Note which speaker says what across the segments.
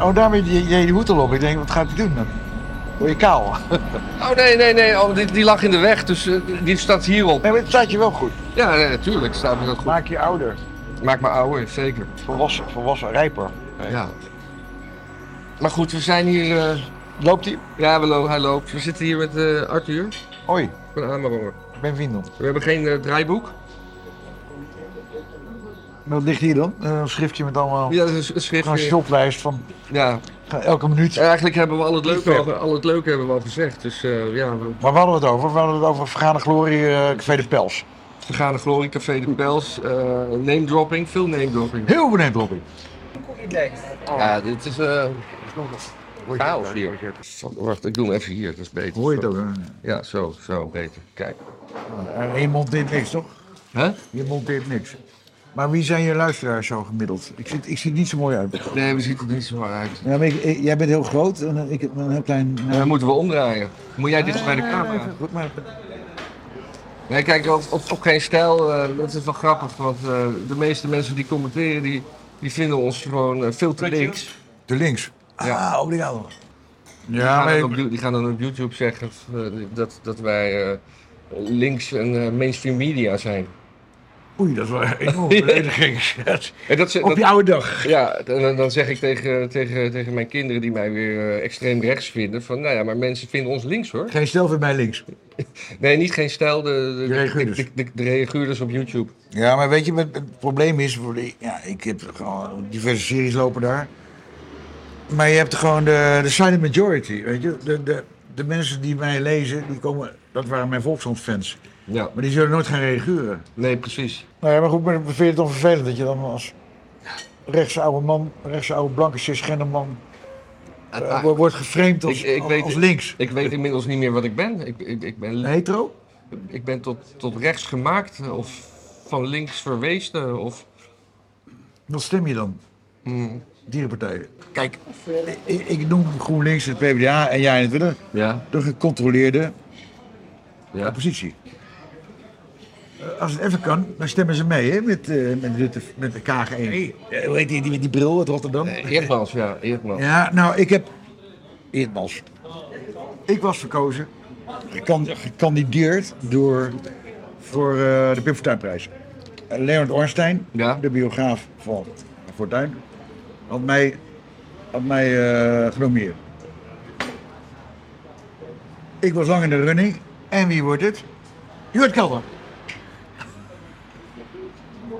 Speaker 1: Oh, daarmee deed je die hoed al op. Ik denk, wat gaat hij doen dan? Word je kaal?
Speaker 2: Oh nee, nee, nee. Oh, die, die lag in de weg, dus eh, die staat hierop.
Speaker 1: Nee, maar het staat je wel goed.
Speaker 2: Ja, nee, natuurlijk staat me dat goed.
Speaker 1: Maak je ouder.
Speaker 2: Maak me ouder, zeker.
Speaker 1: Volwassen, volwassen rijper.
Speaker 2: Ja. Maar goed, we zijn hier... eh,
Speaker 1: Loopt hij?
Speaker 2: ja, we lo- hij loopt. We zitten hier met eh, Arthur
Speaker 1: Hoi,
Speaker 2: van Amerongen.
Speaker 1: ik ben Vindel.
Speaker 2: We hebben geen eh, draaiboek.
Speaker 1: Wat ligt hier dan? Eh, Een schriftje met allemaal...
Speaker 2: Ja, dat is een schrift.
Speaker 1: Gewoon een
Speaker 2: eh,
Speaker 1: shoplijst van eh,
Speaker 2: Ja.
Speaker 1: elke minuut.
Speaker 2: Eigenlijk hebben we al het leuke,
Speaker 1: Liefhebber.
Speaker 2: al, al het leuke hebben we al gezegd. Dus eh, ja, we
Speaker 1: Maar waar hadden we het over? We hadden het over Vergane Glorie eh, Café de Pels.
Speaker 2: Vergane Glorie, Café de Pels, eh name dropping, veel name dropping.
Speaker 1: Heel benieuwd, Robbie. Oh.
Speaker 2: Ja, dit is eh chaos hier. Wacht, ik doe hem even hier, dat is beter.
Speaker 1: Hoor je het ook? hè?
Speaker 2: Ja, zo, zo, beter. Kijk.
Speaker 1: En je monteert eh, niks, toch?
Speaker 2: Hè?
Speaker 1: Je monteert niks. Maar wie zijn je luisteraars zo gemiddeld? Ik zie, ik zie het niet zo mooi uit.
Speaker 2: Nee, we zien er niet zo uit.
Speaker 1: Ja, maar ik- ik- jij bent heel groot en eh, ik heb een heel klein...
Speaker 2: Dan moeten we omdraaien. Moet jij dichter bij de
Speaker 1: Nee,
Speaker 2: camera?
Speaker 1: nee, Goed, maar...
Speaker 2: Nee, kijk, op, op, op geen stijl, eh, dat is wel grappig, want eh, de meeste mensen die commenteren, die, die vinden ons gewoon eh, veel te links.
Speaker 1: De links.
Speaker 2: Ja.
Speaker 1: Ah, obrigado.
Speaker 2: Die
Speaker 1: Ja,
Speaker 2: gaan,
Speaker 1: maar
Speaker 2: dan op, You- die gaan dan op YouTube zeggen eh, dat, dat wij eh, links en eh, mainstream media zijn.
Speaker 1: Oei, dat is wel een enorme belediging.
Speaker 2: En dat, ze-
Speaker 1: Op
Speaker 2: dat,
Speaker 1: je oude dag.
Speaker 2: ja, en dan- dan zeg ik tegen, tegen, tegen mijn kinderen die mij weer eh, extreem rechts vinden: van nou ja, maar mensen vinden ons links hoor.
Speaker 1: Geen stel voor mij links.
Speaker 2: Nee, niet geen stijl, de,
Speaker 1: De
Speaker 2: de,
Speaker 1: reageerders.
Speaker 2: de, de, de reageerders op YouTube.
Speaker 1: Ja, maar weet je, wat het probleem is, voor de- ja, ik heb gewoon diverse series lopen daar. Maar je hebt gewoon de, de silent majority, weet je. De, de, de mensen die mij lezen, die komen, dat waren mijn volkshandfans.
Speaker 2: Ja,
Speaker 1: Maar die zullen nooit gaan reageren.
Speaker 2: nee, precies.
Speaker 1: Nou ja, maar goed, maar vind je het dan vervelend dat je dan als rechtse oude man, rechtse oude blanke cisgender man, eh,
Speaker 2: Ah,
Speaker 1: wo- wordt geframed als,
Speaker 2: Ik- ik
Speaker 1: als,
Speaker 2: weet-
Speaker 1: als links.
Speaker 2: ik weet inmiddels niet meer wat ik ben. Ik, ik, ik ben,
Speaker 1: Hetero?
Speaker 2: ik ben tot, tot rechts gemaakt eh, of van links verwezen. Of,
Speaker 1: Wat stem je dan?
Speaker 2: Hmm.
Speaker 1: Dierenpartijen.
Speaker 2: Kijk.
Speaker 1: Ik, ik- ik noem GroenLinks, het PvdA en jij en het Willem
Speaker 2: Ja,
Speaker 1: de gecontroleerde
Speaker 2: ja.
Speaker 1: oppositie. Eh, Als het even kan, dan stemmen ze mee hè, met, eh, met, Rutte, met de KG1. Eh, Hoe heet die, die met die bril uit Rotterdam?
Speaker 2: Eerdmans, Eh, ja, Eerdmans.
Speaker 1: Ja, nou, ik heb... Eerdmans. Ik was verkozen, gekan- gekandideerd door, voor eh, de Pim Fortuynprijs. Eh, Leonard Ornstein,
Speaker 2: Ja.
Speaker 1: de biograaf van Fortuyn, had mij, had mij eh, genomineerd. Ik was lang in de running. En wie wordt het? Jurt Kelder.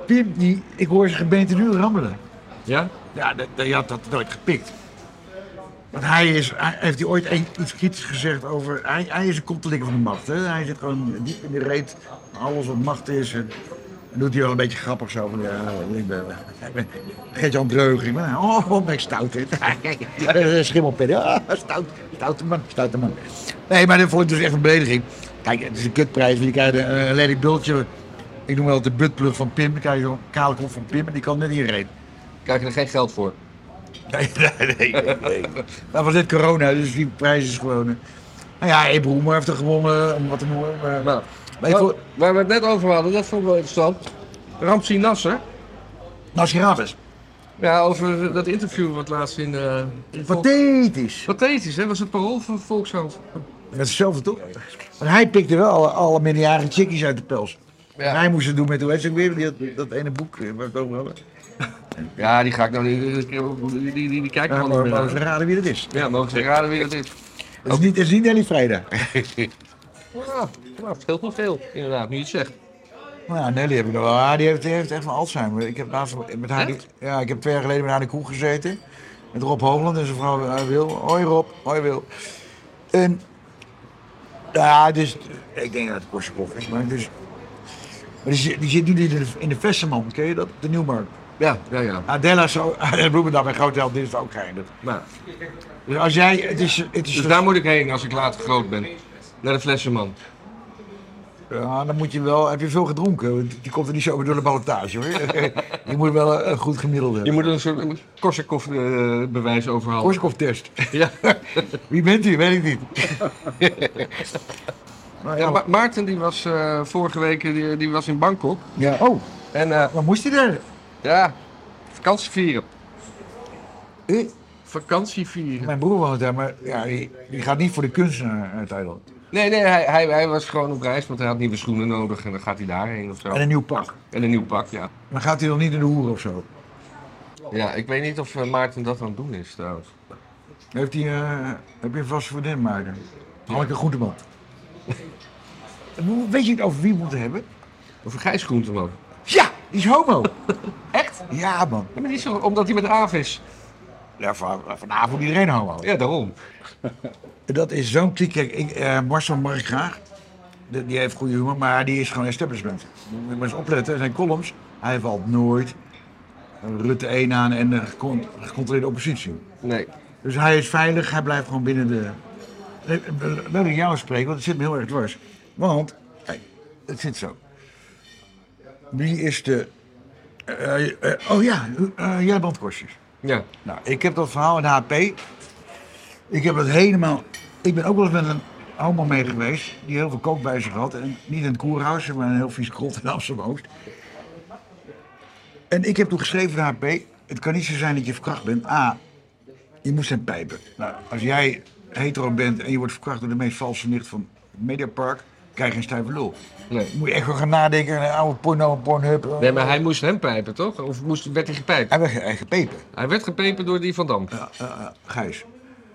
Speaker 1: Pim, die, ik hoor zijn gebeente nu rammelen.
Speaker 2: Ja?
Speaker 1: Ja, dat- dat- je had dat nooit gepikt. Want hij is, hij- heeft hij ooit een- iets kritisch gezegd over. Hij, hij is een kopteling van de macht. Hè? Hij zit gewoon diep in de reet. van Alles wat macht is. En, en doet hij wel een beetje grappig zo. Van, ja, ik ben. Ik ben Gert-Jan Dreug. Ik ben, oh, wat ben ik stout. Eh, hè. Schimmelpen. Ja, Ah, stout. Stoute man. Stoute man. Nee, maar dat vond ik dus echt een belediging. Kijk, het is een kutprijs. want Je krijgt een, een lelijk bultje. Ik noem wel het de buttplug van Pim. Dan krijg je zo'n kale kop van Pim. En die kan net iedereen.
Speaker 2: Krijg je er geen geld voor?
Speaker 1: Nee, nee, nee. nee. Maar was dit corona, dus die prijs is gewoon. eh, Nou ja, Abe Roemer heeft er gewonnen, om wat te noemen. Maar,
Speaker 2: Nou,
Speaker 1: maar ik
Speaker 2: nou,
Speaker 1: vond.
Speaker 2: waar we het net over hadden, dat vond ik wel interessant. Ramsi Nasser.
Speaker 1: Nasirabes.
Speaker 2: Ja, over dat interview wat laatst in... eh in Volks-
Speaker 1: Pathetisch.
Speaker 2: Pathetisch, hè? Was het parool van Volkskrant?
Speaker 1: Dat is hetzelfde toch? Maar hij pikte wel alle, alle minderjarige chickies uit de pels. En
Speaker 2: Ja.
Speaker 1: Hij moest het doen met, hoe heet ze ook weer, die had dat ene boek eh, waar we het over hadden.
Speaker 2: ja, die ga ik nou niet... Die, die, die, die kijk ik
Speaker 1: Ja,
Speaker 2: gewoon niet
Speaker 1: maar
Speaker 2: meer
Speaker 1: mogen ze
Speaker 2: naar.
Speaker 1: raden wie dat is.
Speaker 2: Ja, mogen ze raden wie dat is.
Speaker 1: Het is niet, het is niet Nelly Vrijda.
Speaker 2: Ja, nou, het scheelt wel veel, inderdaad, nu je het zegt.
Speaker 1: Nou ja, Nelly heb ik nog wel. Ja, die heeft, die heeft echt van Alzheimer. Ik heb, laatst met haar,
Speaker 2: Echt?
Speaker 1: ja, ik heb twee jaar geleden met haar in de kroeg gezeten. Met Rob Hoogland en zijn vrouw eh, Wil. Hoi Rob, hoi Wil. En, ja, dus, ik denk dat het kost is, maar dus... Maar die, zit- die zit nu in de, in de Vesterman, ken je dat? De Nieuwmarkt.
Speaker 2: Ja, ja, ja.
Speaker 1: Adela zou, en Bloemendaal bij Grootheld, dit is ook geëindigd.
Speaker 2: Nou,
Speaker 1: Dus als jij, het is, het is
Speaker 2: dus daar moet ik heen als ik later groot ben. Naar de flessenman.
Speaker 1: Ja, dan moet je wel, heb je veel gedronken? Want Die komt er niet zo door de ballotage hoor. je moet wel een, een goed gemiddelde
Speaker 2: Je
Speaker 1: hebben.
Speaker 2: moet een soort Korsakoff-bewijs eh, overhalen.
Speaker 1: Korsakoff-test.
Speaker 2: Ja.
Speaker 1: Wie bent u? Weet ik niet.
Speaker 2: Ja, Ma- Maarten die was eh, vorige week eh, die, die was in Bangkok.
Speaker 1: ja. Oh,
Speaker 2: En eh,
Speaker 1: wat moest hij daar?
Speaker 2: ja, vakantie vieren.
Speaker 1: Eh,
Speaker 3: vakantie vieren.
Speaker 1: Mijn broer woont daar, maar ja, die, die gaat niet voor de kunstenaar uit Thailand.
Speaker 2: Nee, nee, hij, hij, hij was gewoon op reis, want hij had nieuwe schoenen nodig en dan gaat hij daarheen of zo.
Speaker 1: En een nieuw pak.
Speaker 2: En een nieuw pak, ja.
Speaker 1: Maar gaat hij dan niet in de hoer of zo?
Speaker 2: Ja, ik weet niet of eh, Maarten dat aan het doen is trouwens.
Speaker 1: Heeft hij, eh, heb je een vaste vriendin, Maarten? Hanneke Goedeman. Weet je het over wie we moeten hebben?
Speaker 2: Of een Gijs Groenteman.
Speaker 1: Ja, die is homo.
Speaker 2: Echt?
Speaker 1: ja, man.
Speaker 2: Ja, maar niet zo, omdat hij met Aaf is.
Speaker 1: Ja, van, vanavond iedereen homo.
Speaker 2: Ja, daarom.
Speaker 1: Dat is zo'n kliek. Kijk, ik, eh, Marcel mag ik graag. Die, die heeft goede humor, maar die is gewoon establishment. Moet je maar eens opletten, zijn columns. Hij valt nooit Rutte 1 aan en de gecon- gecontroleerde oppositie.
Speaker 2: Nee.
Speaker 1: Dus hij is veilig, hij blijft gewoon binnen de... Eh, Nee, Leuk dat ik jou spreek, want het zit me heel erg dwars. Want, kijk, het zit zo. Wie is de... eh, eh, oh ja, eh, jij bandkostjes.
Speaker 2: Ja.
Speaker 1: Nou, ik heb dat verhaal in de HP. Ik heb het helemaal. Ik ben ook wel eens met een homo mee geweest. Die heel veel kook bij zich had. En niet in het koerhuis, maar in een heel vies grot in Amsterdam Oost. En ik heb toen geschreven in de HP. Het kan niet zo zijn dat je verkracht bent. A. Je moest hem pijpen. Nou, als jij hetero bent en je wordt verkracht door de meest valse nicht van het Mediapark. krijg je een stijve lul.
Speaker 2: Nee.
Speaker 1: Moet je echt wel gaan nadenken. Een oude porno, een pornhub.
Speaker 2: Nee, maar hij moest hem pijpen, toch? Of moest, werd hij gepijpt?
Speaker 1: Hij werd ge- hij gepepen.
Speaker 2: Hij werd gepijpen door die Van Dam.
Speaker 1: Ja, eh, eh, Gijs.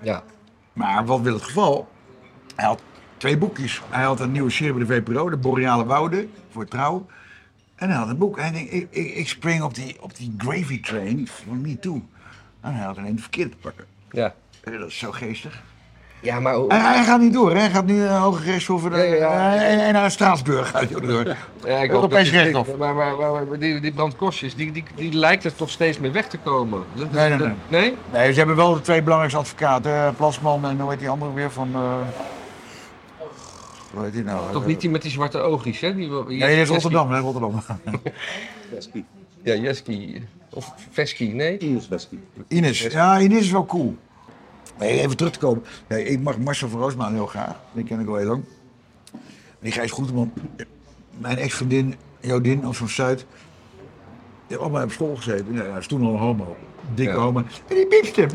Speaker 2: Ja.
Speaker 1: Maar wat wil het geval? Hij had twee boekjes. Hij had een nieuwe serie bij de VPRO, de Boreale Wouden, voor trouw. En hij had een boek. Hij denkt, ik, ik, ik spring op die, op die gravy train van me toe. En hij had alleen het verkeerde te pakken.
Speaker 2: Ja.
Speaker 1: Eh, Dat is zo geestig.
Speaker 2: Ja, maar... hoe-
Speaker 1: Hij, hij gaat niet door, hè? hij gaat nu naar Hoge Rechtshof en,
Speaker 2: Ja, ja, ja.
Speaker 1: eh, en, en naar Straatsburg gaat hij ook door.
Speaker 2: Ja, ik hoop
Speaker 1: Europees
Speaker 2: dat die-
Speaker 1: rechthof.
Speaker 2: Maar, maar, maar- maar die, die brandkostjes, die, die, die lijkt er toch steeds mee weg te komen. Dat is-
Speaker 1: Nee, nee,
Speaker 2: dat-
Speaker 1: nee.
Speaker 2: nee?
Speaker 1: Nee, ze hebben wel de twee belangrijkste advocaten, eh, Plasman en hoe heet die andere weer van... eh, Hoe heet die nou?
Speaker 2: Toch niet die met die zwarte oogjes, hè? Die, die-
Speaker 1: Nee, dit is
Speaker 2: Jeski-
Speaker 1: Rotterdam, hè, Rotterdam.
Speaker 2: Ja, Jeski. Of Veski, nee?
Speaker 1: Ines. Ja, Ines is wel cool. Nee, even terug te komen. Nee, ik mag Marcel van Roosmaan heel graag. Die ken ik al heel lang. Die Gijs Groenteman. Mijn ex-vriendin, Jodin of van Zuid. Die hebben allemaal op school gezeten. Ja, hij is toen al een homo. Dikke
Speaker 2: Ja.
Speaker 1: homo. En die piepst hem.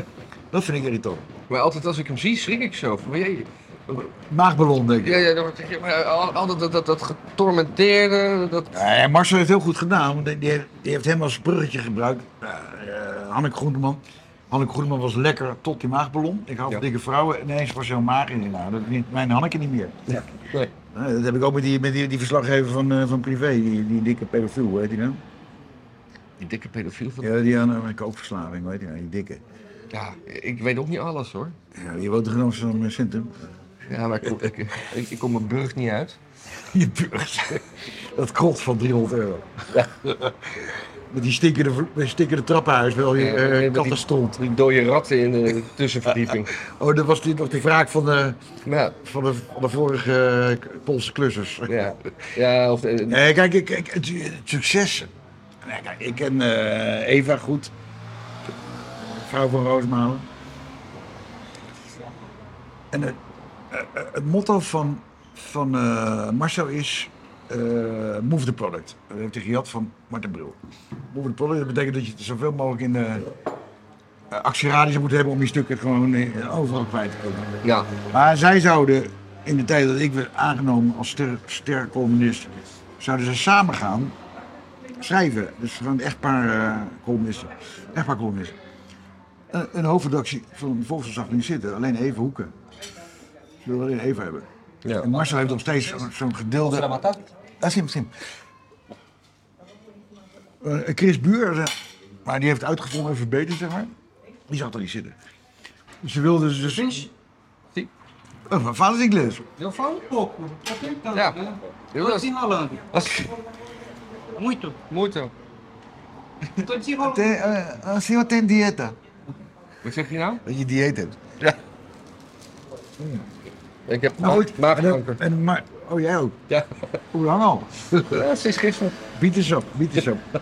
Speaker 1: Dat vind ik irritant.
Speaker 2: Maar altijd als ik hem zie, schrik ik zo. Van, jee.
Speaker 1: Maagballon, denk ik.
Speaker 2: Ja, ja, dan word ik- maar eh, al- altijd dat, dat, dat getormenteerde, dat...
Speaker 1: Eh, Ja, en Marcel heeft heel goed gedaan, want die, die heeft- die heeft hem als bruggetje gebruikt. Eh, eh, Hanneke Groeneman. Hanneke Groeneman was lekker tot die maagballon. Ik had
Speaker 2: Ja.
Speaker 1: dikke vrouwen en ineens was heel maag in. Nou, dat is niet- mijn Hanneke niet meer.
Speaker 2: Nee.
Speaker 1: Eh, dat heb ik ook met die, met die, die verslaggever van, eh, van Privé, die, die dikke pedofiel, hoe heet die nou?
Speaker 2: Die dikke pedofiel van... Ja.
Speaker 1: Ja, die aan een koopverslaving, hoe heet die nou, die dikke.
Speaker 2: ik weet ook niet alles, hoor.
Speaker 1: Ja, die woont er in Amsterdam eh, Centrum.
Speaker 2: Ja, maar ik, kom- ik, ik, ik kom mijn burg niet uit.
Speaker 1: Je burgers. Dat krot van 300 euro. Met die stinkende, vlo- met die stinkende trappenhuis, wel je
Speaker 2: Ja, ja,
Speaker 1: eh
Speaker 2: met die-
Speaker 1: katten stond.
Speaker 2: Die dode ratten in de tussenverdieping.
Speaker 1: Oh, dat was die, nog die wraak van de,
Speaker 2: Nou,
Speaker 1: van de, van de vorige eh, Poolse klussers.
Speaker 2: ja. Ja, of... eh,
Speaker 1: Nee, kijk, ik- ik- het, het succes. Nee, kijk, ik ken eh, Eva goed. Vrouw van Roosmalen. En het, eh, eh, het motto van, van eh, Marcel is... eh, move the product. Dat heeft hij gehad van Martin Bril. Move the product, dat betekent dat je het zoveel mogelijk in de eh, actieradius moet hebben... om je stukken gewoon eh, overal kwijt te komen.
Speaker 2: Ja,
Speaker 1: Maar zij zouden, in de tijd dat ik werd aangenomen als ster, stercolumnist, zouden ze samen gaan schrijven. Dus gewoon een echtpaar eh, columnisten. Echtpaar columnisten. Een, een hoofdredactie van de Volksverslag ging zitten, alleen even hoeken. Ze wilden alleen even hebben.
Speaker 2: ja.
Speaker 1: En Marcel heeft nog steeds zo'n- zo'n gedeelde... Ah, sim, sim. Eh, Chris Buur, eh, maar die heeft het uitgevonden en verbeterd, zeg maar. Die zag er niet zitten. Ze wilden dus...
Speaker 2: Zie.
Speaker 1: Oh, van vaders Inglis.
Speaker 4: Eu falo um pouco, eu tentando,
Speaker 2: Ja.
Speaker 4: né?
Speaker 2: Ja, dat
Speaker 4: Tô
Speaker 2: is-
Speaker 4: desenrolando.
Speaker 2: dat is
Speaker 4: Muito.
Speaker 2: moeite.
Speaker 4: Tô desenrolando.
Speaker 1: Ten, eh, eh, senhor ten dieta.
Speaker 2: Wat zeg je nou?
Speaker 1: Dat je dieet hebt.
Speaker 2: Ik heb
Speaker 1: Nou goed.
Speaker 2: maagkanker.
Speaker 1: En, en, maar, oh, jij ook.
Speaker 2: Ja.
Speaker 1: Hoe lang al?
Speaker 2: ja, sinds gisteren.
Speaker 1: Bietensap, bietensap.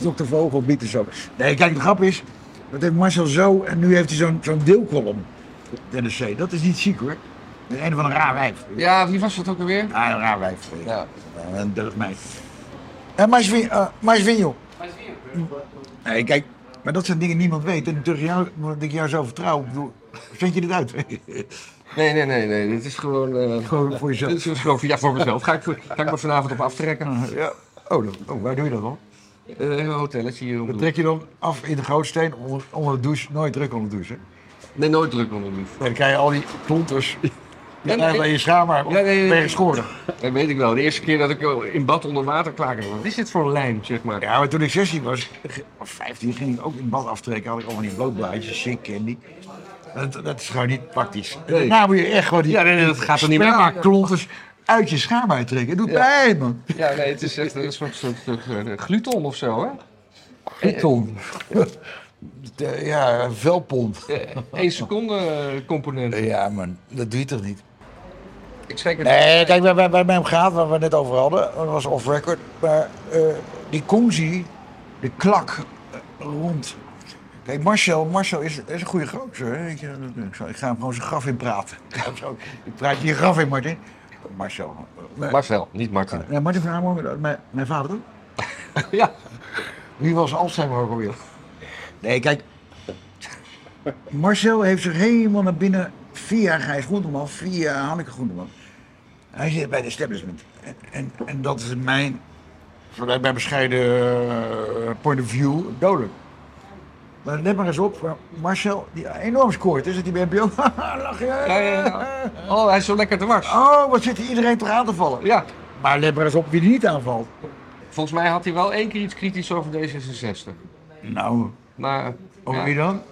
Speaker 1: Dokter Vogel, bietensap. Nee, kijk, de grap is, dat heeft Marcel zo en nu heeft hij zo'n zo'n deelkolom. Dennis C. Dat is niet ziek hoor. Dat is een van een raar wijf.
Speaker 2: Ja, wie was dat ook alweer?
Speaker 1: Ah, een raar wijf. Ja.
Speaker 2: Ja.
Speaker 1: Eh, Een Eh, deugd mij. En Marcel Vigno.
Speaker 4: Mas vinho.
Speaker 1: Mm. Nee, kijk, Maar dat zijn dingen die niemand weet. En door jou, omdat ik jou zo vertrouw, ik bedoel, vind je dit uit?
Speaker 2: Nee, nee, nee, nee. Dit is gewoon. eh,
Speaker 1: Gewoon voor
Speaker 2: dit is
Speaker 1: jezelf.
Speaker 2: gewoon voor- ja, voor mezelf. Ga ik, ga ik me vanavond op aftrekken.
Speaker 1: Ja. Oh, dat- oh, waar doe je dat dan?
Speaker 2: Eh, een hotelletje hier om de
Speaker 1: Dat
Speaker 2: hoek.
Speaker 1: trek je dan af in de gootsteen onder, onder de douche. Nooit druk onder de douche. hè?
Speaker 2: Nee, nooit druk onder de lief.
Speaker 1: En dan krijg je al die klonters. Die
Speaker 2: nee,
Speaker 1: krijg je bij je schaamhaar op
Speaker 2: Ja, nee, nee,
Speaker 1: tegen
Speaker 2: nee.
Speaker 1: schoren.
Speaker 2: Dat weet ik wel. De eerste keer dat ik eh, in bad onder water klaagde. Wat is dit voor een lijm, zeg maar?
Speaker 1: Ja, maar toen ik 16 was, of 15, ging ik ook in het bad aftrekken. Had ik allemaal die blootblaadjes, shit candy. Dat, dat is gewoon niet praktisch.
Speaker 2: Nee.
Speaker 1: Daarna moet je echt gewoon die
Speaker 2: Ja, nee, nee, dat gaat er niet meer aan.
Speaker 1: klonters uit je schaam uittrekken. Doet
Speaker 2: Ja. Eh,
Speaker 1: pijn, man.
Speaker 2: Ja, nee, het is echt een soort, soort, soort, eh, gluten of zo, hè? eh.
Speaker 1: Python. Ja, velpont.
Speaker 2: Eh, Eén seconde eh, component.
Speaker 1: Ja, man, dat doe je toch niet?
Speaker 2: Ik schrik het.
Speaker 1: Nee, kijk, waar, waar, waar het bij hem gaat, waar we het net over hadden, dat was off record. Maar eh, die Komzi, de klak eh, rond. Kijk, Marcel, Marcel is, is een goede gozer. hè, Weet je, dat- ik, zal- ik ga hem gewoon zijn graf in praten. Ik ga hem zo- ik praat je graf in, Martin. Marcel. eh, Maar-
Speaker 2: Marcel, niet Martin.
Speaker 1: Nee, Martin van Amerongen, eh, mijn, mijn vader ook.
Speaker 2: Ja.
Speaker 1: Wie was Alzheimer ook alweer? Nee, kijk. Marcel heeft zich helemaal naar binnen via Gijs Groenteman, via Hanneke Groenteman. Hij zit bij de establishment. En, en, en dat is mijn, vanuit mijn bescheiden eh, point of view, dodelijk. Maar let maar eens op, waar Marcel, die enorm scoort, is dat die bij NPO? Lach je?
Speaker 2: Ja, ja, ja. Oh, hij is zo lekker te was.
Speaker 1: Oh, wat zit hier iedereen toch aan te vallen?
Speaker 2: Ja.
Speaker 1: Maar let maar eens op wie er niet aanvalt.
Speaker 2: Volgens mij had hij wel één keer iets kritisch over D66.
Speaker 1: Nou,
Speaker 2: Maar,
Speaker 1: over
Speaker 2: ja,
Speaker 1: wie dan?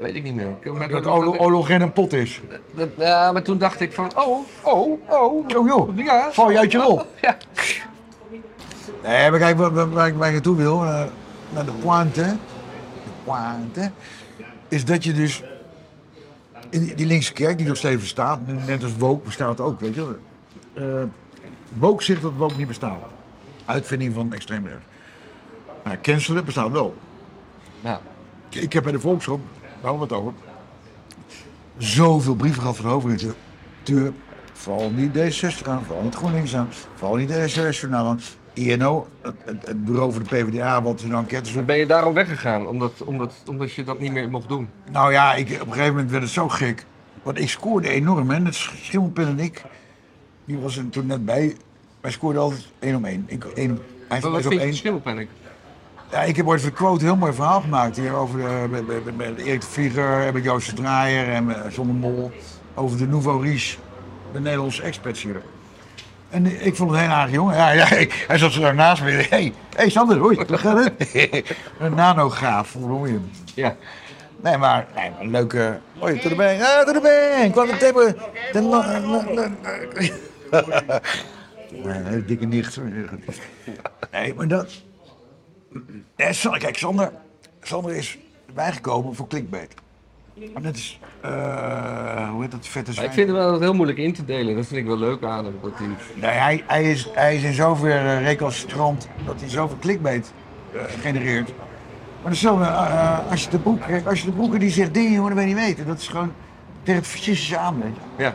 Speaker 2: weet ik niet meer. Ik- maar
Speaker 1: Dat
Speaker 2: toen-
Speaker 1: Olo- Ologen een pot is.
Speaker 2: dat- Ja, maar toen dacht ik van, oh, oh, oh.
Speaker 1: Oh joh,
Speaker 2: Ja.
Speaker 1: val je uit je rol?
Speaker 2: Ja.
Speaker 1: Nee, maar kijk, waar, waar, waar ik waar ik naartoe wil, eh, naar de pointe, de pointe, is dat je dus in die- die linkse kerk, die nog steeds bestaat, net als woke bestaat ook, weet je wel. Eh, woke zegt dat woke niet bestaat. Uitvinding van extreem rechts. Maar cancelen bestaat wel.
Speaker 2: Ja.
Speaker 1: Ik heb bij de Volkskrant, daar hadden we het over, zoveel brieven gehad van de hoofdredacteur. Vooral niet D60 aan, vooral niet GroenLinks aan, vooral niet D66-journaal aan. INO, het, het- het bureau voor de PvdA, wat hun enquêtes doet.
Speaker 2: Ben je daarom weggegaan, omdat, omdat, omdat je dat niet meer mocht doen?
Speaker 1: Nou ja, ik, op een gegeven moment werd het zo gek. Want ik scoorde enorm, hè. Net Schimmelpin en ik, die was er toen net bij. Wij scoorden altijd één om één. Ik, één op, hij
Speaker 2: Maar
Speaker 1: hij
Speaker 2: wat
Speaker 1: is op
Speaker 2: vind je
Speaker 1: één.
Speaker 2: verschil, ben
Speaker 4: né?
Speaker 2: ik?
Speaker 1: Ja, ik heb ooit voor de quote een heel mooi verhaal gemaakt hier over de, met, met, met- met Erik de Vlieger en met Joost de Draaier en met John de Mol. Over de Nouveau Riche, de Nederlandse expats hier. En ik vond het een heel aardig jongen. Ja, ja, ik- hij zat zo daarnaast me. Hé, hey, hey, Sander, hoi, hoe gaat het? een nanograaf, hoe noem je hem?
Speaker 2: Ja.
Speaker 1: Nee, maar nee, maar een leuke... Hoi, tot de bang. Ah, tot de bang. Kwam de table. De la- la- la- la- Nee, een hele dikke nicht. Nee, maar dat... Nee, Sa- kijk, Sander, Sander is bijgekomen voor clickbait. En dat is... eh, hoe heet dat vette
Speaker 2: Maar
Speaker 1: zwijn?
Speaker 2: ik vind hem wel heel moeilijk in te delen. Dat vind ik wel leuk aan hem. Dat hij...
Speaker 1: Nee, hij, hij, is, hij is in zoverre recalcitrant dat hij zoveel clickbait eh, genereert. Maar dat is zo, als je de broek, kijk, als je de broeken die zegt dingen, jongen, dat wil je niet weten. Dat is gewoon tegen het fascistische aan, weet je.
Speaker 2: Ja.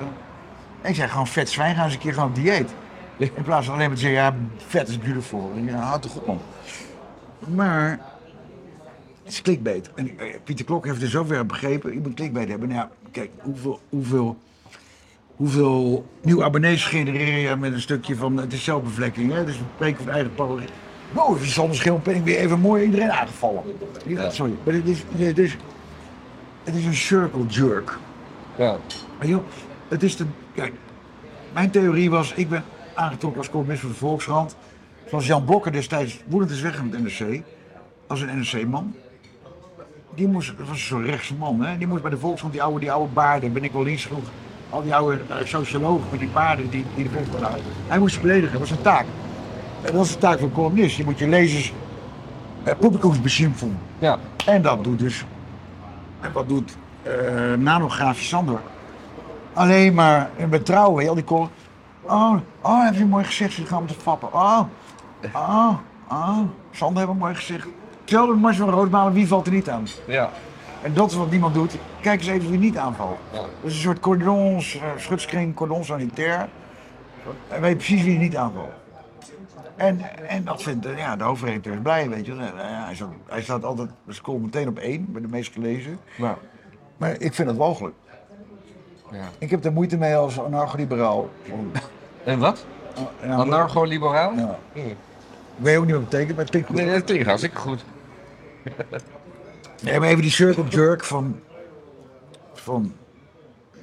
Speaker 1: Ik zei gewoon vet zwijn, gaan eens een keer gewoon op dieet. In plaats van alleen maar te zeggen, ja, vet is beautiful. Ja, houd toch op, man. Maar het is clickbait. En eh, Pieter Klok heeft in zoverre begrepen, je moet clickbait hebben. Nou ja, kijk, hoeveel, hoeveel, hoeveel nieuwe abonnees genereer je met een stukje van, het is zelfbevlekking, hè? dus we spreken van eigen power. Wow, het is anders ben ik weer even mooi iedereen aangevallen. Ja, sorry, maar het is, het is, het is een circle jerk.
Speaker 2: ja.
Speaker 1: Maar joh, het is de. Kijk, mijn theorie was: ik ben aangetrokken als columnist van de Volkskrant. Zoals Jan Blokker destijds woedend is weggegaan met NRC. Als een NRC-man. Die moest, dat was zo'n rechtse man, hè? Die moest bij de Volkskrant die oude, die oude baarden, ben ik wel links genoeg. Al die oude eh, sociologen met die baarden die, die de Volkskrant hadden. Hij moest ze beledigen, dat was zijn taak. En dat is de taak van een columnist. Je moet je lezers eh, publikumsbeschimpfen.
Speaker 2: ja.
Speaker 1: En dat doet dus. En wat doet eh nanograafje Sander? Alleen maar betrouwen, al die kool. Oh, oh, heb je een mooi gezicht? Ze gaan te fappen. Oh, oh, oh. Sander heeft een mooi gezicht. Hetzelfde met Mars van Roodmalen, wie valt er niet aan?
Speaker 2: ja.
Speaker 1: En dat is wat niemand doet. Kijk eens even wie niet aanvalt.
Speaker 2: Ja.
Speaker 1: Dat is een soort cordons, eh, schutskring, cordon sanitair. En weet precies wie er niet aanvalt. En, en dat vindt eh, ja, de hoofdredacteur is blij, weet je. wel. Nou ja, hij, staat, hij staat altijd, hij komt meteen op één, bij de meest gelezen.
Speaker 2: Nou,
Speaker 1: Maar ik vind dat walgelijk.
Speaker 2: ja.
Speaker 1: Ik heb er moeite mee als anarcho-liberaal. Om-
Speaker 2: En wat?
Speaker 1: ja,
Speaker 2: Anarcho-liberaal?
Speaker 1: Ja.
Speaker 2: Hm.
Speaker 1: Ik weet ook niet wat het betekent, maar het klinkt goed.
Speaker 2: Nee, dat klinkt hartstikke goed.
Speaker 1: Nee, maar even die circle jerk van, van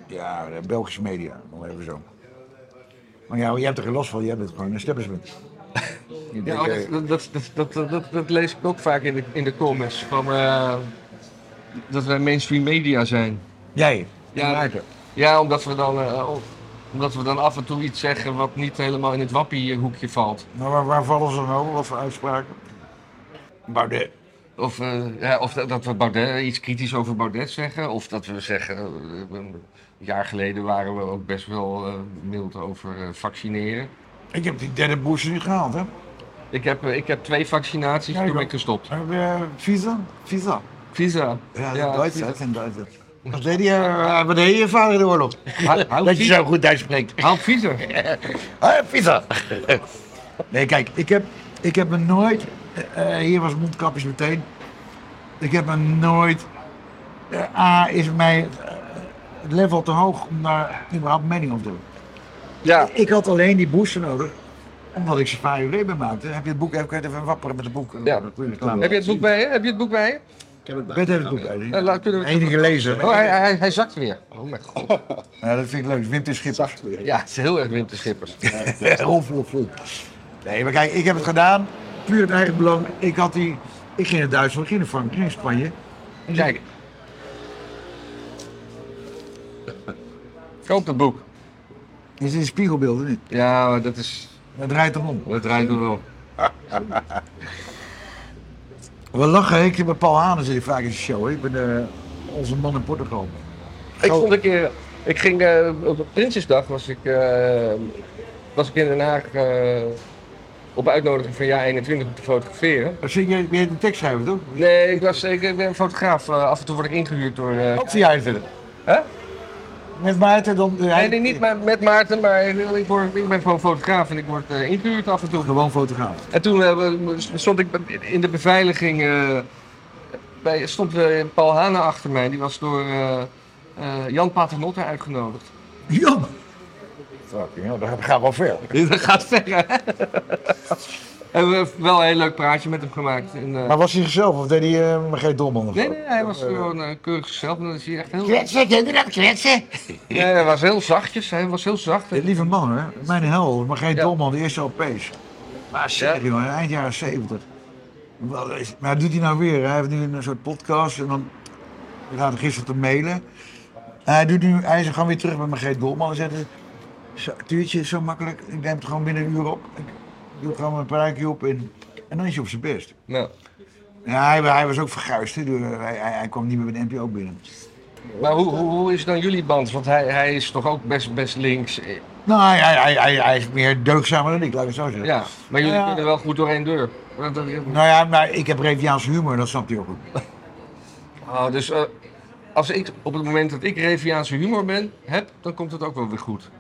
Speaker 1: ja, de Belgische media, maar even zo. Maar ja, jij hebt er geen last van, jij bent gewoon een establishment. Je
Speaker 2: Ja,
Speaker 1: denkt,
Speaker 2: oh,
Speaker 1: eh,
Speaker 2: dat, dat, dat, dat, dat, dat, dat lees ik ook vaak in de, in de comments. Van, eh, dat wij mainstream media zijn.
Speaker 1: Jij,
Speaker 2: Ja.
Speaker 1: Maarten.
Speaker 2: Ja, omdat we, dan, eh, oh, omdat we dan af en toe iets zeggen wat niet helemaal in het wappiehoekje valt.
Speaker 1: Maar waar, waar vallen ze dan over? Wat voor uitspraken? Baudet.
Speaker 2: Of, eh, ja, of dat, dat we Baudet, iets kritisch over Baudet zeggen. Of dat we zeggen, eh, een jaar geleden waren we ook best wel eh, mild over eh, vaccineren.
Speaker 1: Ik heb die derde booster niet gehaald, hè?
Speaker 2: Ik heb, eh, ik heb twee vaccinaties,
Speaker 1: Ja, ik
Speaker 2: toen ben
Speaker 1: ook.
Speaker 2: ik gestopt.
Speaker 1: Heb je eh, visa? Visa.
Speaker 2: Visa.
Speaker 1: Ja,
Speaker 2: Ja,
Speaker 1: in Duitsland. In Duitsland. Wat deed je, eh, wat deed je vader in de oorlog?
Speaker 2: Hou- hou
Speaker 1: Dat je
Speaker 2: visa.
Speaker 1: zo goed Duits spreekt.
Speaker 2: Haal visa.
Speaker 1: Ah, pizza. nee, kijk, ik heb, ik heb me nooit. eh, eh, hier was mondkapjes meteen. Ik heb me nooit. eh, A is mij eh, het level te hoog om daar überhaupt mening op te doen.
Speaker 2: Ja,
Speaker 1: Ik had alleen die booster nodig omdat ik Safari Reben maakte. Heb je het boek even, kun je even wapperen met het boek?
Speaker 2: Ja.
Speaker 1: Dat kun je reclame.
Speaker 2: Heb je het boek bij je? Heb je het boek bij je?
Speaker 1: Bert heeft het boek uit.
Speaker 2: Eh, laat- kunnen we-
Speaker 1: Enige gelezen.
Speaker 2: Oh, hij, hij, hij zakt weer. Oh mijn god.
Speaker 1: Ja, dat vind ik leuk. Wim de Schipper.
Speaker 2: Ja, het is heel erg winterschippers.
Speaker 1: Rolf, Rolf, Rolf. Nee, maar kijk, ik heb het gedaan. Puur het eigen belang. Ik, had die, ik ging naar Duitsland, ik ging naar Frankrijk, ik ging naar Spanje.
Speaker 2: Kijk. Koop het boek.
Speaker 1: Je ziet spiegelbeelden niet.
Speaker 2: Ja, maar dat is...
Speaker 1: Dat draait erom.
Speaker 2: Dat rijdt er wel.
Speaker 1: We lachen. Ik heb met Paul Hanen zit ik vaak in de show. Ik ben eh, onze man in Portugal.
Speaker 2: Ik vond een keer... Ik ging... eh, op Prinsjesdag was ik... eh, was ik in Den Haag... eh, op uitnodiging van jaar 21 om te fotograferen.
Speaker 1: Oh, Zing jij, ben jij de tekst schrijven, toch?
Speaker 2: Nee, ik, was, ik, ik ben fotograaf. Eh, af en toe word ik ingehuurd door... eh,
Speaker 1: Wat zie jij verder?
Speaker 2: hè?
Speaker 1: Met Maarten dan... eh,
Speaker 2: Nee, nee, niet met, met Maarten, maar ik, word, ik ben gewoon fotograaf en ik word eh, ingehuurd af en toe.
Speaker 1: Gewoon fotograaf.
Speaker 2: En toen eh, stond ik in de beveiliging, eh, bij, stond eh, Paul Hane achter mij. Die was door eh, eh, Jan Paternotte uitgenodigd.
Speaker 1: Ja. Fucking hell, dat gaat wel ver.
Speaker 2: Dat gaat ver, hè? Hebben we wel een heel leuk praatje met hem gemaakt. En, eh,
Speaker 1: Maar was hij zichzelf of deed hij eh, maar geen domme?
Speaker 2: nee, nee, hij was gewoon eh, keurig zelf. En dat is hij echt heel...
Speaker 1: Kretsen, kinderen, kretsen.
Speaker 2: Ja, hij was heel zachtjes, hij was heel zacht.
Speaker 1: Eh, Lieve man, hè? Mijn hel, maar geen
Speaker 2: Ja.
Speaker 1: Dolman, de eerste LP's. Maar zeg, jongen, eind jaren 70. Wat is- Maar dat doet hij nou weer. Hij heeft nu een soort podcast en dan. Ik had hem gisteren te mailen. En hij, doet nu, hij is gewoon weer terug bij mijn Geet Dolman. En zegt: eh, "Zo, Tuurtje, zo makkelijk. Ik neem het gewoon binnen een uur op. Ik doe gewoon mijn pruikje op. En, en dan is hij op zijn best.
Speaker 2: Nou,
Speaker 1: Ja, hij, hij was ook verguisd. hè, door- Hij, hij, hij kwam niet meer bij de NPO binnen.
Speaker 2: maar hoe, hoe, hoe is dan jullie band? Want hij, hij is toch ook best, best links. eh,
Speaker 1: Nou, hij, hij, hij, hij, hij is meer deugdzamer dan ik, laat ik het zo zeggen.
Speaker 2: Ja, maar jullie
Speaker 1: Ja.
Speaker 2: kunnen wel goed door één deur. Want eh, dat-
Speaker 1: Nou ja, maar ik heb Reviaanse humor, dat snapt hij ook goed.
Speaker 2: Ah, dus eh, als ik, op het moment dat ik Reviaanse humor ben, heb, dan komt het ook wel weer goed.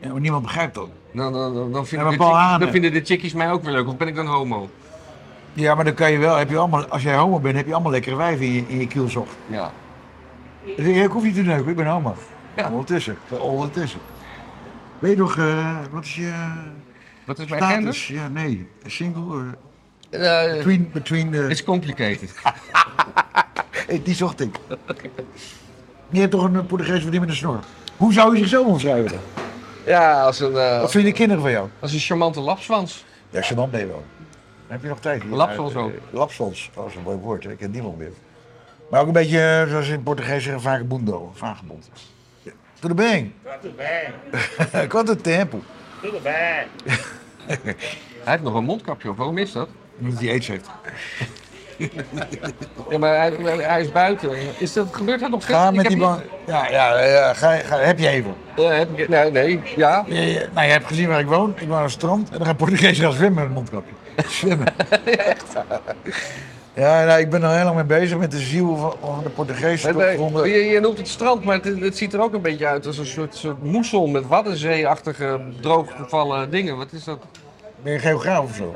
Speaker 1: Ja, maar niemand begrijpt dat.
Speaker 2: Dan, dan, dan, dan, vinden
Speaker 1: maar
Speaker 2: de
Speaker 1: Paul
Speaker 2: chickies,
Speaker 1: Hane.
Speaker 2: dan vinden de chickies mij ook weer leuk, of ben ik dan homo?
Speaker 1: Ja, maar dan kan je wel, heb je allemaal, als jij homo bent, heb je allemaal lekkere wijven in je, in je kielzocht.
Speaker 2: Ja.
Speaker 1: Dus ik, ik hoef niet te neuken, ik ben homo.
Speaker 2: Ja.
Speaker 1: Ondertussen, ondertussen. Weet je nog, eh, wat is je
Speaker 2: Wat is mijn gender?
Speaker 1: status? Ja, nee, single, eh,
Speaker 2: Eh,
Speaker 1: between, between, eh,
Speaker 2: it's complicated.
Speaker 1: eh, die zocht ik. Je hebt toch een eh, Portugese vriendin met een snor? Hoe zou je zichzelf omschrijven dan?
Speaker 2: Ja, als een, eh,
Speaker 1: Wat vinden de kinderen van jou?
Speaker 2: als een charmante lapswans.
Speaker 1: Ja, Chaman ben je wel. Heb je nog tijd? hier?
Speaker 2: Lapsels
Speaker 1: Eh,
Speaker 2: ook.
Speaker 1: Lapsels, dat is een mooi woord, hè? ik ken niemand meer. Maar ook een beetje, eh, zoals in het Portugees zeggen, vagabundo, vagebond. Ja. Tudo bem?
Speaker 3: Tudo bem,
Speaker 1: Quanto tempo?
Speaker 3: tudo bem.
Speaker 2: Hij heeft nog een mondkapje op, waarom is dat?
Speaker 1: Omdat hij aids heeft.
Speaker 2: Ja, maar hij, hij is buiten. Is dat, gebeurt dat nog steeds?
Speaker 1: Ga
Speaker 2: Ik
Speaker 1: met
Speaker 2: heb
Speaker 1: die
Speaker 2: niet-
Speaker 1: man. Ja, ja, ja ga, ga, heb je even.
Speaker 2: Eh, heb ik- nee, nee, ja.
Speaker 1: Je, je- nou, je hebt gezien waar ik woon. Ik woon aan het strand. En dan gaan Portugezen gaan zwemmen met een mondkapje. Zwemmen. Ja, nou, ik ben er heel lang mee bezig met de ziel van, van de Portugese.
Speaker 2: Nee, nee,
Speaker 1: gronden.
Speaker 2: je, je noemt het strand, maar het, het ziet er ook een beetje uit als een soort, soort moesel met waddenzeeachtige drooggevallen dingen. Wat is dat?
Speaker 1: Ben je geograaf of zo?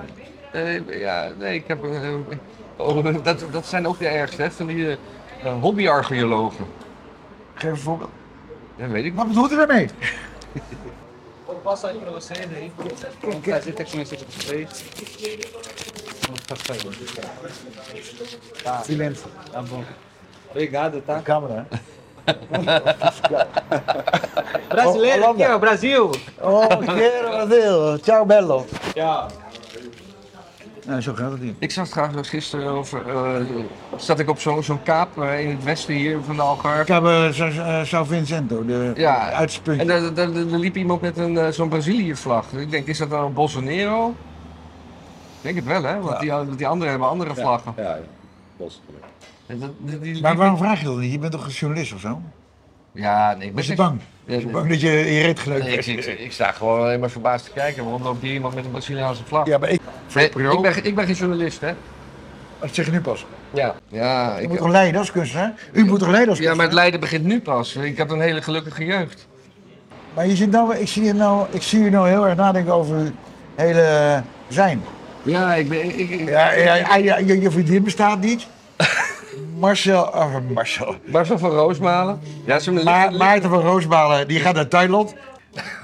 Speaker 2: Eh, ja, nee, ik heb. eh, oh, dat, dat zijn ook de ergste, hè? Van die eh, hobbyarcheologen.
Speaker 1: Geef een voorbeeld.
Speaker 2: Dat weet ik
Speaker 1: Wat bedoelt u daarmee?
Speaker 4: Vou passar aí pra vocês aí. Vamos fazer até conhecer com vocês. Vamos passar aí. Tá,
Speaker 1: Silence.
Speaker 4: tá bom. Obrigado, tá?
Speaker 1: Camera. hè?
Speaker 4: Brasileiro aqui, ó, Brasil!
Speaker 1: Oh, quero Brazil. Ciao bello.
Speaker 4: Tchau.
Speaker 1: Nou, zo gaat het hier.
Speaker 2: Ik zag trouwens gisteren over. eh, zat ik op zo'n zo'n kaap eh, in het westen hier van de Algarve.
Speaker 1: Ik heb eh, Sa- Sa- Sao Vincento, de
Speaker 2: Ja.
Speaker 1: uitspuntje.
Speaker 2: En daar, daar- daar- daar liep iemand met een, eh, zo'n Brazilië-vlag. Dus Ik denk, is dat dan een Bolsonaro? Ik denk het wel, hè? Want die, want die anderen hebben andere vlaggen.
Speaker 3: Ja, ja. Bos.
Speaker 2: En dat- die- die-
Speaker 1: Maar waarom vraag je dat niet? Je bent toch een journalist of zo?
Speaker 2: Ja, nee, ik
Speaker 1: Was je
Speaker 2: niks-
Speaker 1: bang?
Speaker 2: Ja,
Speaker 1: Was je bang dat je je reet geneukt
Speaker 2: nee, ik, ik,
Speaker 1: werd?
Speaker 2: ik sta gewoon alleen maar verbaasd te kijken. Waarom loopt hier iemand met een Braziliaanse vlag?
Speaker 1: Ja, maar ik...
Speaker 2: Nee,
Speaker 1: Pro.
Speaker 2: ik, ben, ik ben geen journalist, hè?
Speaker 1: Dat zeg je nu pas.
Speaker 2: Ja, ja,
Speaker 1: Je
Speaker 2: ik,
Speaker 1: moet toch leiden als kunstenaar? U moet toch leiden als
Speaker 2: ja maar het
Speaker 1: kunstenaar?
Speaker 2: lijden begint nu pas. Ik had een hele gelukkige jeugd.
Speaker 1: Maar je zit nou, ik zie je nou, ik zie je nou heel erg nadenken over uw hele eh, zijn.
Speaker 2: Ja, ik ben... Ik, ik-
Speaker 1: Ja, ja, ja, ja, je, je vriendin bestaat niet. Marcel, oh, Marcel.
Speaker 2: Marcel van Roosmalen. Ja, ze
Speaker 1: Ma Maarten van Roosbalen, die gaat naar Thailand.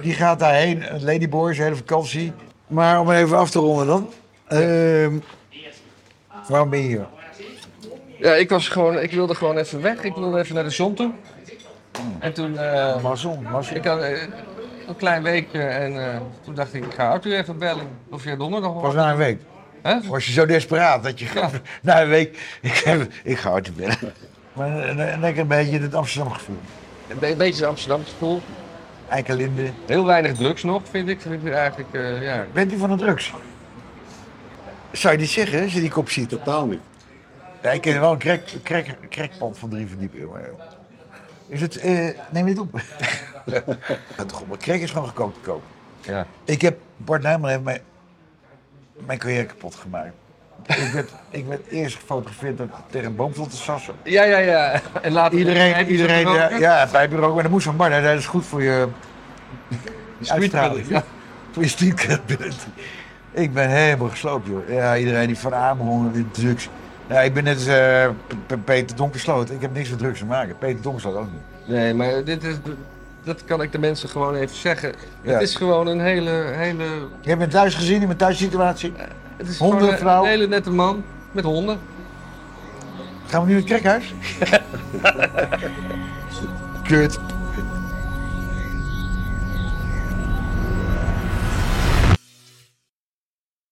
Speaker 1: Die gaat daarheen, Ladyboys, hele vakantie. Maar om even af te ronden dan. ehm, waarom ben je hier?
Speaker 2: Ja, ik, was gewoon, ik wilde gewoon even weg. Ik wilde even naar de zon toe. En toen... eh,
Speaker 1: Marcel, Marcel.
Speaker 2: ik had eh, een klein weekje en eh, toen dacht ik, ik ga Arthur even bellen. Of jij donderdag
Speaker 1: Pas
Speaker 2: hoor.
Speaker 1: na een week.
Speaker 2: Hè?
Speaker 1: Was je zo desperaat dat je gewoon na een week, ik, heb, ik ga uit te bellen. Maar eh, le- lekker een beetje het Amsterdam gevoel.
Speaker 2: Een be- beetje Amsterdamse school.
Speaker 1: Eikelinde.
Speaker 2: Heel weinig drugs nog, vind ik. Vind ik eigenlijk, eh, ja.
Speaker 1: Bent u van de drugs? Zou je dit zeggen, als je die kop ziet?
Speaker 3: Totaal niet.
Speaker 1: Ja, ik ken wel een crack, crack, crackpand van drie verdiepingen. maar- Is het, eh, neem dit op. ja, toch, maar crack is gewoon goedkoop te koop.
Speaker 2: ja.
Speaker 1: Ik heb, Bart Nijman heeft mijn, mijn carrière kapot gemaakt. ik, werd, ik werd eerst gefotografeerd door- tegen een boom te sassen.
Speaker 2: Ja, ja, ja. En later
Speaker 1: Iedereen,
Speaker 2: heb je ze
Speaker 1: iedereen
Speaker 2: er ook,
Speaker 1: ja,
Speaker 2: hè?
Speaker 1: ja, bureau, maar dat moest van Bart. Hij zei, dat is goed voor je uitstraling.
Speaker 2: Ja.
Speaker 1: Voor je street credibility. Ik ben helemaal gesloopt, joh. Ja, iedereen die van Amerongen, die drugs. Nou, ik ben net als, eh, P- P- Peter Donkersloot. Ik heb niks met drugs te maken. Peter Donkersloot ook niet.
Speaker 2: Nee, maar dit is, dat kan ik de mensen gewoon even zeggen.
Speaker 1: Ja.
Speaker 2: Het is gewoon een hele, hele...
Speaker 1: Je hebt me thuis gezien in mijn thuissituatie.
Speaker 2: Eh, Het is
Speaker 1: Honden,
Speaker 2: gewoon een-
Speaker 1: vrouw.
Speaker 2: een hele nette man met honden.
Speaker 1: Gaan we nu naar het krekhuis? Kut.